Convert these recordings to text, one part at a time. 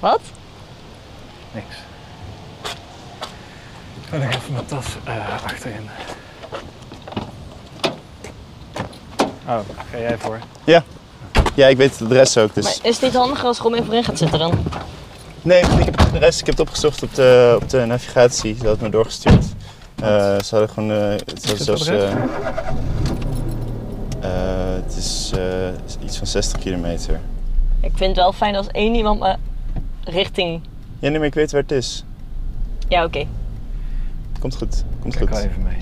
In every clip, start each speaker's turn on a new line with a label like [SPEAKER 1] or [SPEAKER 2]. [SPEAKER 1] Wat?
[SPEAKER 2] Niks. Ik leg even mijn tas eh, achterin. Oh, ga jij voor?
[SPEAKER 3] Ja. Ja, ik weet de rest ook. Dus.
[SPEAKER 1] Maar is het niet handig als Rob even in gaat zitten dan?
[SPEAKER 3] Nee, want ik heb de rest ik heb het opgezocht op de, op de navigatie. Ze had het me doorgestuurd. Eh, ze hadden gewoon... eh, het was
[SPEAKER 2] het
[SPEAKER 3] zelfs...
[SPEAKER 2] adres?
[SPEAKER 3] eh, eh, het is eh, iets van 60 kilometer.
[SPEAKER 1] Ik vind het wel fijn als één iemand me richting...
[SPEAKER 3] Ja, nee, maar ik weet waar het is.
[SPEAKER 1] Ja, oké.
[SPEAKER 3] Het komt goed. Het komt
[SPEAKER 2] Kijk wel
[SPEAKER 3] goed.
[SPEAKER 2] even mee.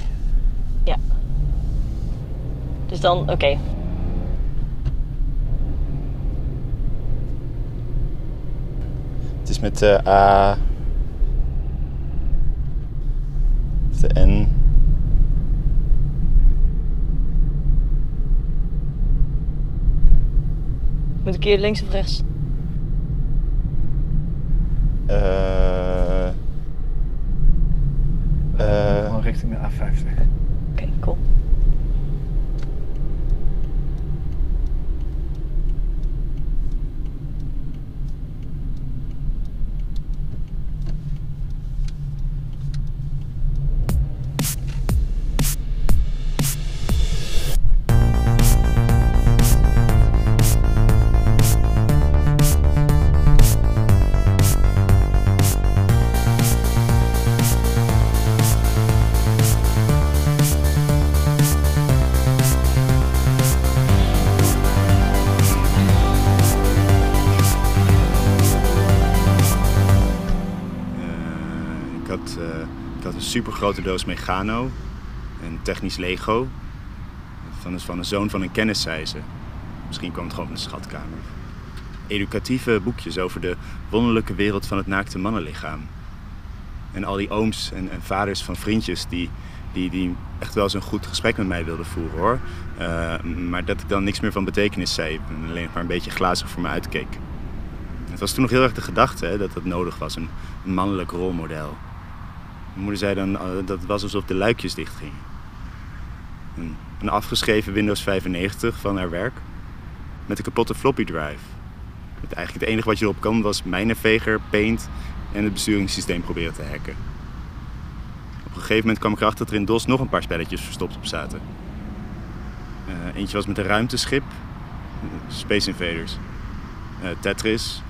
[SPEAKER 1] Dus dan, oké.
[SPEAKER 3] Het is met de A... Of de N.
[SPEAKER 1] Moet ik hier links of rechts?
[SPEAKER 3] Eh, Eh.
[SPEAKER 2] Gewoon richting de A50.
[SPEAKER 1] Oké, cool.
[SPEAKER 3] Eh, ik, had, eh, ik had een super grote doos Megano en technisch Lego. Van een, van een zoon van een kennis, zei ze. Misschien kwam het gewoon van de schatkamer. Educatieve boekjes over de wonderlijke wereld van het naakte mannenlichaam. En al die ooms en, en vaders van vriendjes die, die, die echt wel eens een goed gesprek met mij wilden voeren hoor. Eh, maar dat ik dan niks meer van betekenis zei en alleen maar een beetje glazig voor me uitkeek. Het was toen nog heel erg de gedachte hè, dat dat nodig was, een, een mannelijk rolmodel. Mijn moeder zei dan eh, dat het was alsof de luikjes dichtgingen. Een, een afgeschreven Windows 95 van haar werk, met een kapotte floppy drive. Met eigenlijk het enige wat je erop kon was mijnenveger, paint en het besturingssysteem proberen te hacken. Op een gegeven moment kwam ik erachter dat er in DOS nog een paar spelletjes verstopt op zaten. Eh, eentje was met een ruimteschip, eh, Space Invaders, eh, Tetris,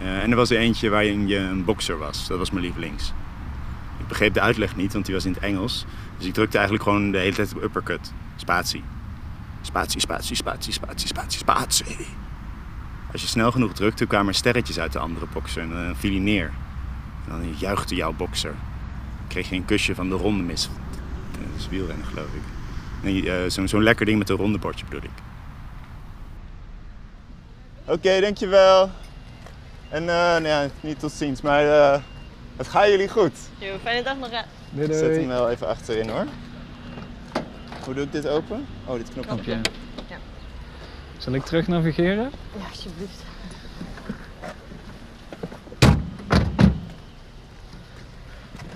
[SPEAKER 3] eh, en er was er eentje waarin je een bokser was. Dat was mijn lievelings. Ik begreep de uitleg niet, want die was in het Engels. Dus ik drukte eigenlijk gewoon de hele tijd op uppercut. Spatie. Spatie, spatie, spatie, spatie, spatie, spatie. Als je snel genoeg drukte, kwamen er sterretjes uit de andere bokser. En dan viel hij neer. En dan juichte jouw bokser. Dan kreeg je een kusje van de ronde mis. Eh, Dat is wielrennen, geloof ik. Nee, eh, Zo'n zo'n lekker ding met een ronde bordje bedoel ik. Oké, dankjewel. En eh, nou ja, niet tot ziens, maar eh, het gaat jullie goed.
[SPEAKER 1] Yo, fijne dag nog. hè.
[SPEAKER 2] Doei
[SPEAKER 3] Ik zet hem wel even achterin hoor. Hoe doe ik dit open? Oh, dit knopje.
[SPEAKER 1] Knopje. Ja.
[SPEAKER 2] Zal ik terug navigeren?
[SPEAKER 1] Ja, alsjeblieft.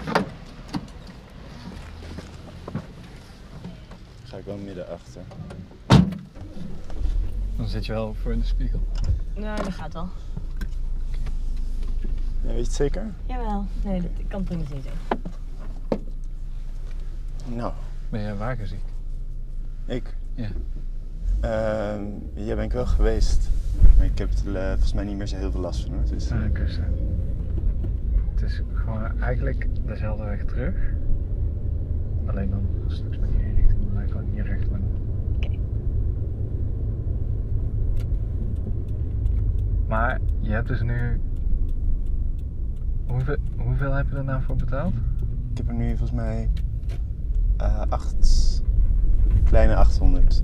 [SPEAKER 2] Oh.
[SPEAKER 3] Ga ik wel midden achter.
[SPEAKER 2] Dan zit je wel voor in de spiegel.
[SPEAKER 1] Nou, dat gaat wel.
[SPEAKER 3] Ja, weet je het zeker?
[SPEAKER 1] Jawel. Nee, dat kan prima niet zijn.
[SPEAKER 3] Nou,
[SPEAKER 2] Ben jij wagenziek?
[SPEAKER 3] ik.
[SPEAKER 2] Ja.
[SPEAKER 3] Ehm ja, ben ik wel geweest. Maar ik heb er eh, volgens mij niet meer zo heel veel last van hoor. Dus,
[SPEAKER 2] Ah, ik wist het. Het is gewoon eigenlijk dezelfde weg terug. Alleen dan een stukje met die richting, maar ik kan hier recht lang.
[SPEAKER 1] Oké.
[SPEAKER 2] Maar je hebt dus nu. Hoeveel, hoeveel heb je er nou voor betaald?
[SPEAKER 3] Ik heb er nu volgens mij eh acht, kleine 800.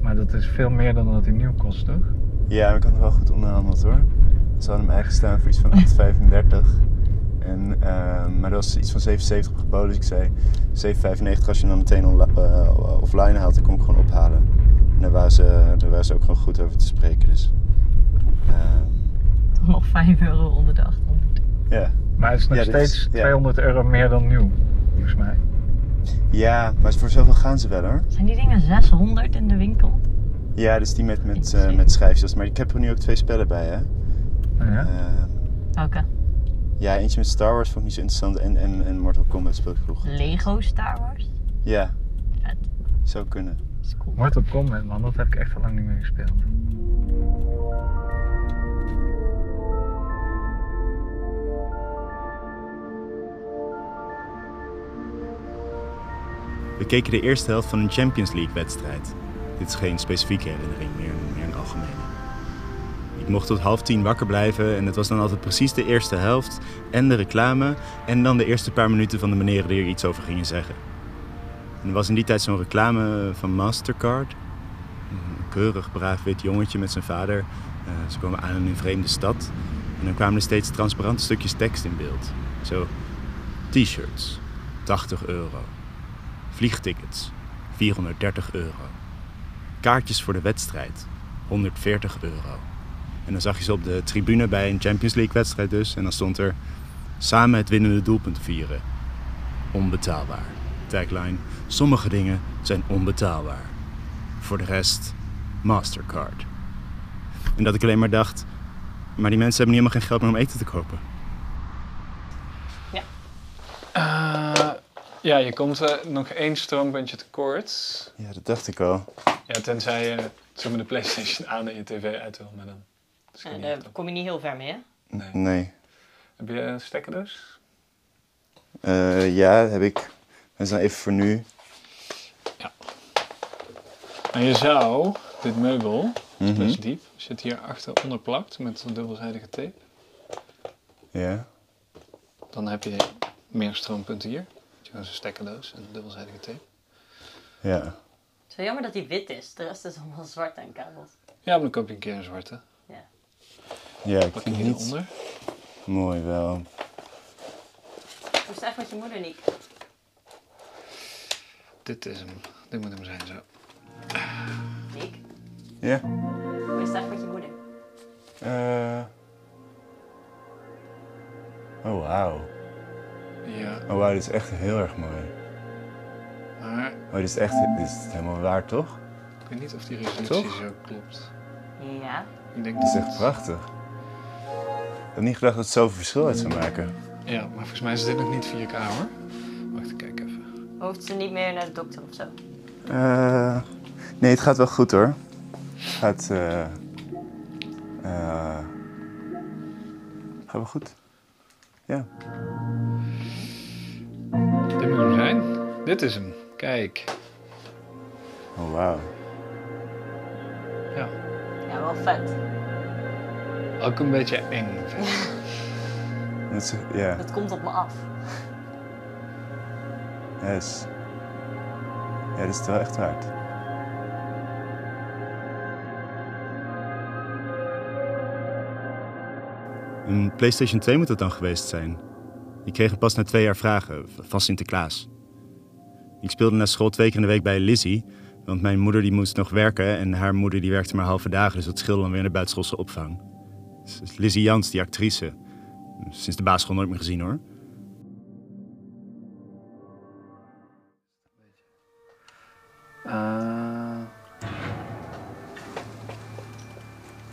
[SPEAKER 2] Maar dat is veel meer dan dat hij nieuw kost, toch?
[SPEAKER 3] Ja, we kunnen wel goed onderhandeld hoor. Ze hadden hem eigenlijk staan voor iets van 8,35. En, eh, maar dat was iets van 77 op geboden, dus ik zei 7,95 als je hem dan meteen onla- eh, offline haalt, dan kom ik gewoon ophalen. En daar waren, ze, daar waren ze ook gewoon goed over te spreken, dus... ehm,
[SPEAKER 1] Nog 5 euro onder de 800.
[SPEAKER 3] ja.
[SPEAKER 2] Maar het is nog
[SPEAKER 3] Ja, dit is-
[SPEAKER 2] steeds
[SPEAKER 3] ja.
[SPEAKER 2] 200 euro meer dan nieuw, volgens mij.
[SPEAKER 3] ja, maar voor zoveel gaan ze wel hoor.
[SPEAKER 1] Zijn die dingen 600 in de winkel?
[SPEAKER 3] Ja, dus die met, met, eh, met schijfjes. Maar ik heb er nu ook twee spellen bij hè.
[SPEAKER 2] Nou ja.
[SPEAKER 3] Ehm,
[SPEAKER 1] Welke?
[SPEAKER 3] Ja, eentje met Star Wars vond ik niet zo interessant. En, en, en Mortal Kombat speelde ik vroeger.
[SPEAKER 1] Lego Star Wars.
[SPEAKER 3] Ja,
[SPEAKER 1] Vet.
[SPEAKER 3] zou kunnen.
[SPEAKER 1] Dat is cool.
[SPEAKER 2] Mortal Kombat, man, dat heb ik echt al lang niet meer gespeeld.
[SPEAKER 3] We keken de eerste helft van een Champions League wedstrijd. Dit is geen specifieke herinnering, meer, meer een algemene. Ik mocht tot half tien wakker blijven en het was dan altijd precies de eerste helft en de reclame en dan de eerste paar minuten van de meneer die er iets over gingen zeggen. En er was in die tijd zo'n reclame van Mastercard. Een keurig, braaf wit jongetje met zijn vader. Eh, ze kwamen aan in een vreemde stad en dan kwamen er steeds transparante stukjes tekst in beeld. Zo, t-shirts, 80 euro. Vliegtickets, 430 euro. Kaartjes voor de wedstrijd, 140 euro. En dan zag je ze op de tribune bij een Champions League wedstrijd dus. En dan stond er samen het winnende doelpunt vieren. Onbetaalbaar. Tagline, sommige dingen zijn onbetaalbaar. Voor de rest, Mastercard. En dat ik alleen maar dacht, maar die mensen hebben niet helemaal geen geld meer om eten te kopen.
[SPEAKER 2] Eh, ja, je komt eh, nog één stroompuntje tekort.
[SPEAKER 3] Ja, dat dacht ik al.
[SPEAKER 2] Ja, tenzij je zeg maar, de PlayStation aan en je tv uit wil, maar dan. schiet
[SPEAKER 1] En
[SPEAKER 2] niet
[SPEAKER 1] daar
[SPEAKER 2] echt op.
[SPEAKER 1] kom je niet heel ver mee, hè?
[SPEAKER 2] Nee.
[SPEAKER 3] Nee.
[SPEAKER 2] Heb je een stekker dus?
[SPEAKER 3] Eh, ja, heb ik. Dat is dan even voor nu.
[SPEAKER 2] En je zou dit meubel, dat is
[SPEAKER 3] Mhm.
[SPEAKER 2] best diep, zit hier achter onderplakt met een dubbelzijdige tape.
[SPEAKER 3] Ja.
[SPEAKER 2] Dan heb je meer stroompunten hier. Dat is gewoon zo'n stekkerdoos en dubbelzijdige tape.
[SPEAKER 3] Ja.
[SPEAKER 1] Het is wel jammer dat die wit is. De rest is allemaal zwart en kabels.
[SPEAKER 2] Ja, maar dan koop je een keer een zwarte.
[SPEAKER 1] Ja.
[SPEAKER 3] Ja, ik
[SPEAKER 2] Pak je
[SPEAKER 3] vind het niet
[SPEAKER 2] hieronder.
[SPEAKER 3] mooi wel.
[SPEAKER 1] Hoe is het echt met je moeder, Nick?
[SPEAKER 2] Dit is hem. Dit moet hem zijn zo.
[SPEAKER 1] Nick,
[SPEAKER 3] Ja.
[SPEAKER 1] hoe is het echt met je moeder?
[SPEAKER 3] Eh. Oh, wauw.
[SPEAKER 2] Ja,
[SPEAKER 3] Oh, wauw, dit is echt heel erg mooi.
[SPEAKER 2] maar
[SPEAKER 3] Oh, dit is echt dit is helemaal waar, toch?
[SPEAKER 2] ik weet niet of die resolutie
[SPEAKER 3] Toch?
[SPEAKER 2] zo klopt.
[SPEAKER 1] Ja.
[SPEAKER 2] Ik denk
[SPEAKER 3] Dit
[SPEAKER 2] dat
[SPEAKER 3] is echt prachtig. Ik had niet gedacht dat het zoveel verschil uit zou maken.
[SPEAKER 2] Ja, maar volgens mij is dit nog niet 4K hoor. Wacht, ik kijk even.
[SPEAKER 1] Hoeft ze niet meer naar de dokter of zo?
[SPEAKER 3] Eh, nee, het gaat wel goed hoor. Het gaat. eh eh, gaat wel goed. Ja.
[SPEAKER 2] Dit moet hem zijn. Dit is hem. Kijk.
[SPEAKER 3] Oh, wauw.
[SPEAKER 2] Ja.
[SPEAKER 1] Ja, wel vet.
[SPEAKER 2] Ook een beetje eng. vind ik.
[SPEAKER 3] Dat is, ja,
[SPEAKER 1] Het komt op me af.
[SPEAKER 3] yes. Ja, dit is het wel echt waard. Een PlayStation 2 moet het dan geweest zijn. Ik kreeg hem pas na twee jaar vragen, van Sinterklaas. Ik speelde na school twee keer in de week bij Lizzie, want mijn moeder die moest nog werken en haar moeder die werkte maar halve dagen, dus dat scheelde dan weer naar buitenschoolse opvang. Dus Lizzie Jans, die actrice. Sinds de basisschool nooit meer gezien hoor.
[SPEAKER 2] Eh,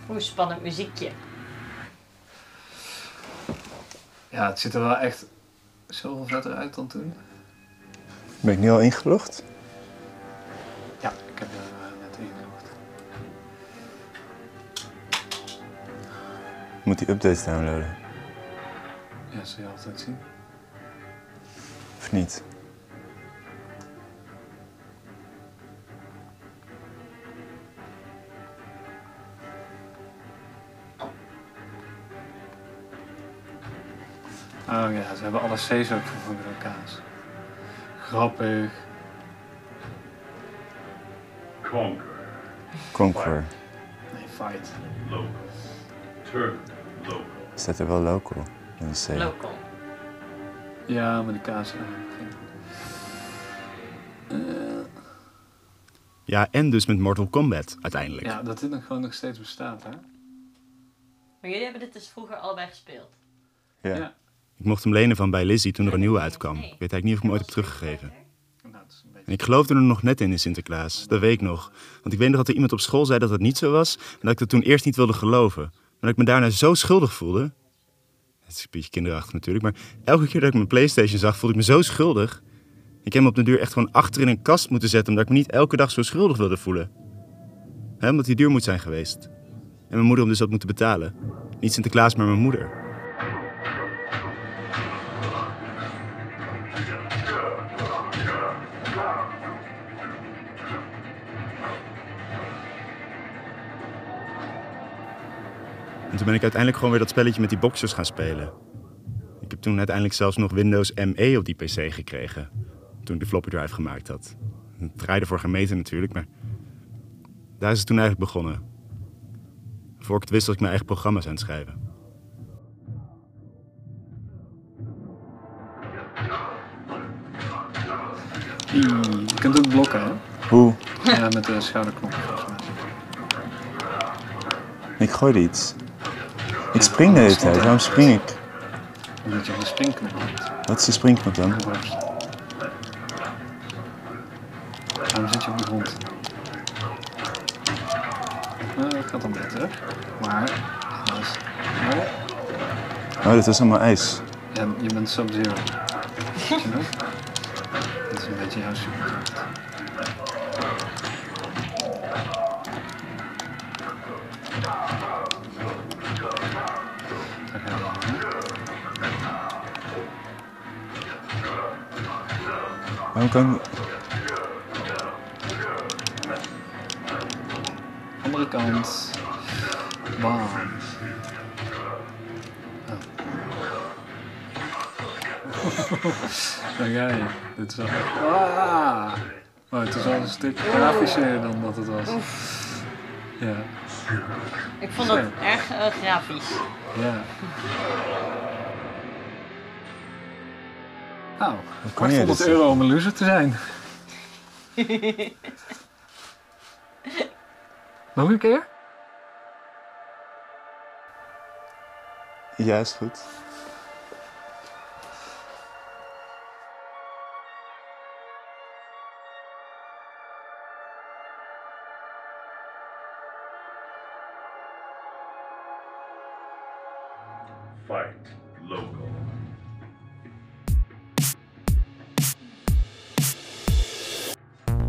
[SPEAKER 1] Oeh, spannend muziekje.
[SPEAKER 2] Ja, het ziet er wel echt zoveel vetter uit dan toen.
[SPEAKER 3] Ben ik nu al ingelogd?
[SPEAKER 2] Ja, ik heb er eh, net ingekocht.
[SPEAKER 3] Moet die updates downloaden,
[SPEAKER 2] Ja, zul je altijd zien.
[SPEAKER 3] of niet?
[SPEAKER 2] Oh ja, ze hebben alle C's ook vervangen door kaas. Grappig.
[SPEAKER 4] Conquer,
[SPEAKER 3] Conquer.
[SPEAKER 2] Nee, fight.
[SPEAKER 4] local. Turn, local.
[SPEAKER 3] Staat er wel local in de C?
[SPEAKER 1] Local.
[SPEAKER 2] Ja, maar de kaas eh, aan.
[SPEAKER 3] Ja, en dus met Mortal Kombat uiteindelijk.
[SPEAKER 2] Ja, dat dit nog gewoon nog steeds bestaat, hè?
[SPEAKER 1] Maar jullie hebben dit dus vroeger allebei gespeeld.
[SPEAKER 3] Ja.
[SPEAKER 2] Ja.
[SPEAKER 3] Ik mocht hem lenen van bij Lizzie toen er een nieuwe uitkwam. Ik weet eigenlijk niet of ik hem ooit heb teruggegeven.
[SPEAKER 2] Nou, dat is een beetje...
[SPEAKER 3] En ik geloofde er nog net in in Sinterklaas. Dat weet ik nog. Want ik weet nog dat er iemand op school zei dat het niet zo was. En dat ik dat toen eerst niet wilde geloven. Maar dat ik me daarna zo schuldig voelde. Het is een beetje kinderachtig natuurlijk, maar elke keer dat ik mijn PlayStation zag, voelde ik me zo schuldig. Ik heb hem op de duur echt gewoon achter in een kast moeten zetten, omdat ik me niet elke dag zo schuldig wilde voelen. Hè, omdat die duur moet zijn geweest. En mijn moeder hem dus had moeten betalen. Niet Sinterklaas, maar mijn moeder. En toen ben ik uiteindelijk gewoon weer dat spelletje met die boxers gaan spelen. Ik heb toen uiteindelijk zelfs nog Windows ME op die PC gekregen. Toen ik de floppy drive gemaakt had. Het draaide voor geen meter natuurlijk, maar. Daar is het toen eigenlijk begonnen. Voor ik het wist was ik mijn eigen programma's aan het schrijven.
[SPEAKER 2] Je kunt ook blokken, hè?
[SPEAKER 5] Hoe?
[SPEAKER 2] Ja, met de schouderknop. volgens mij.
[SPEAKER 5] Ik gooi iets. Ik spring de hele tijd. Waarom spring ik?
[SPEAKER 2] Omdat je op de springknop hebt
[SPEAKER 5] Wat is de springknop dan?
[SPEAKER 2] gebruikt. Waarom zit je op de grond? Nou, dat gaat dan beter. Maar, dat is... Maar,
[SPEAKER 5] Oh, dit was allemaal ijs.
[SPEAKER 2] ja, je bent sub-zero. Weet je nog? Dat is een beetje jouw superkracht. Daar ga je dan, hè?
[SPEAKER 5] Waarom kan ik...
[SPEAKER 2] Andere kant. Bam. Oh. Daar ga je. Oh. Dit is wel... Ah! Oh, het is wel een stuk grafischer dan dat het was. Ja,
[SPEAKER 1] Ik vond dat erg eh, grafisch.
[SPEAKER 2] ja. Nou,
[SPEAKER 5] kon jij dit
[SPEAKER 2] 800
[SPEAKER 5] zeggen?
[SPEAKER 2] euro om een loser te zijn. Nog een keer?
[SPEAKER 5] Ja, is goed.
[SPEAKER 4] Fight local.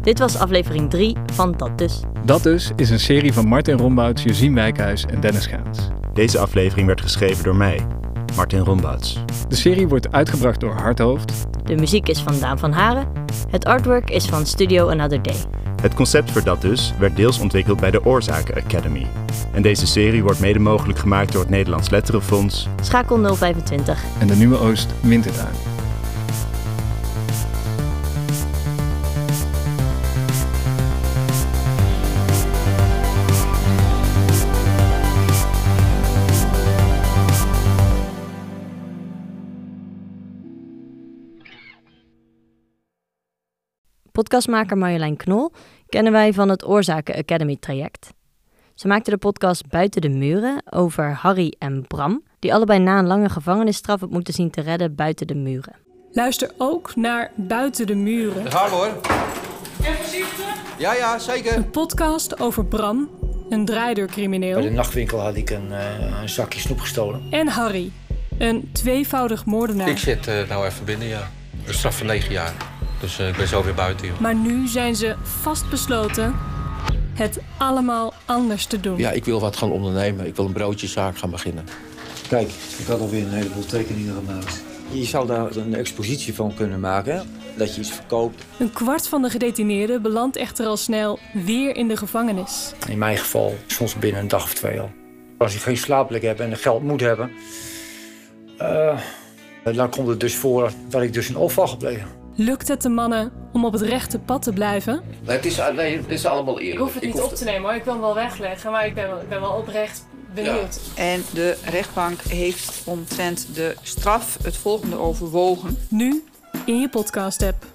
[SPEAKER 1] Dit was aflevering 3 van Dat Dus.
[SPEAKER 2] Dat dus is een serie van Martin Rombouts, Josien Wijkhuis en Dennis Gaans.
[SPEAKER 3] Deze aflevering werd geschreven door mij, Martin Rombouts.
[SPEAKER 2] De serie wordt uitgebracht door Harthoofd.
[SPEAKER 1] De muziek is van Daan van Haren. Het artwork is van Studio Another Day.
[SPEAKER 3] Het concept voor dat dus werd deels ontwikkeld bij de Oorzaken Academy. En deze serie wordt mede mogelijk gemaakt door het Nederlands Letterenfonds.
[SPEAKER 1] Schakel 025.
[SPEAKER 2] En de Nieuwe Oost Wintertuin.
[SPEAKER 1] Podcastmaker Marjolein Knol kennen wij van het Oorzaken Academy traject. Ze maakte de podcast Buiten de Muren over Harry en Bram, die allebei na een lange gevangenisstraf het moeten zien te redden buiten de muren.
[SPEAKER 6] Luister ook naar Buiten de Muren.
[SPEAKER 7] Gaan hoor. Even Ja, ja, zeker.
[SPEAKER 6] Een podcast over Bram, een draaideurcrimineel.
[SPEAKER 8] Bij de nachtwinkel had ik een, eh, een zakje snoep gestolen.
[SPEAKER 6] En Harry, een tweevoudig moordenaar.
[SPEAKER 7] Ik zit eh, nou even binnen, ja. Een straf van 9 jaar. Dus eh, ik ben zo weer buiten, joh.
[SPEAKER 6] Maar nu zijn ze vastbesloten het allemaal anders te doen.
[SPEAKER 7] Ja, ik wil wat gaan ondernemen. Ik wil een broodjeszaak gaan beginnen.
[SPEAKER 9] Kijk, ik had alweer een heleboel tekeningen gemaakt. Je zou daar een expositie van kunnen maken. Dat je iets verkoopt.
[SPEAKER 6] Een kwart van de gedetineerden belandt echter al snel weer in de gevangenis.
[SPEAKER 8] In mijn geval soms binnen een dag of twee al. Als ik geen slaapplek heb en geld moet hebben, eh, dan komt het dus voor dat ik dus een opval gepleegd.
[SPEAKER 6] Lukt het de mannen om op het rechte pad te blijven?
[SPEAKER 7] Het is, nee, het is allemaal eerlijk.
[SPEAKER 6] nemen hoor, ik wil hem wel wegleggen, maar ik ben wel, oprecht
[SPEAKER 7] benieuwd.
[SPEAKER 10] En de rechtbank heeft omtrent de straf het volgende overwogen.
[SPEAKER 6] Nu in je podcast-app.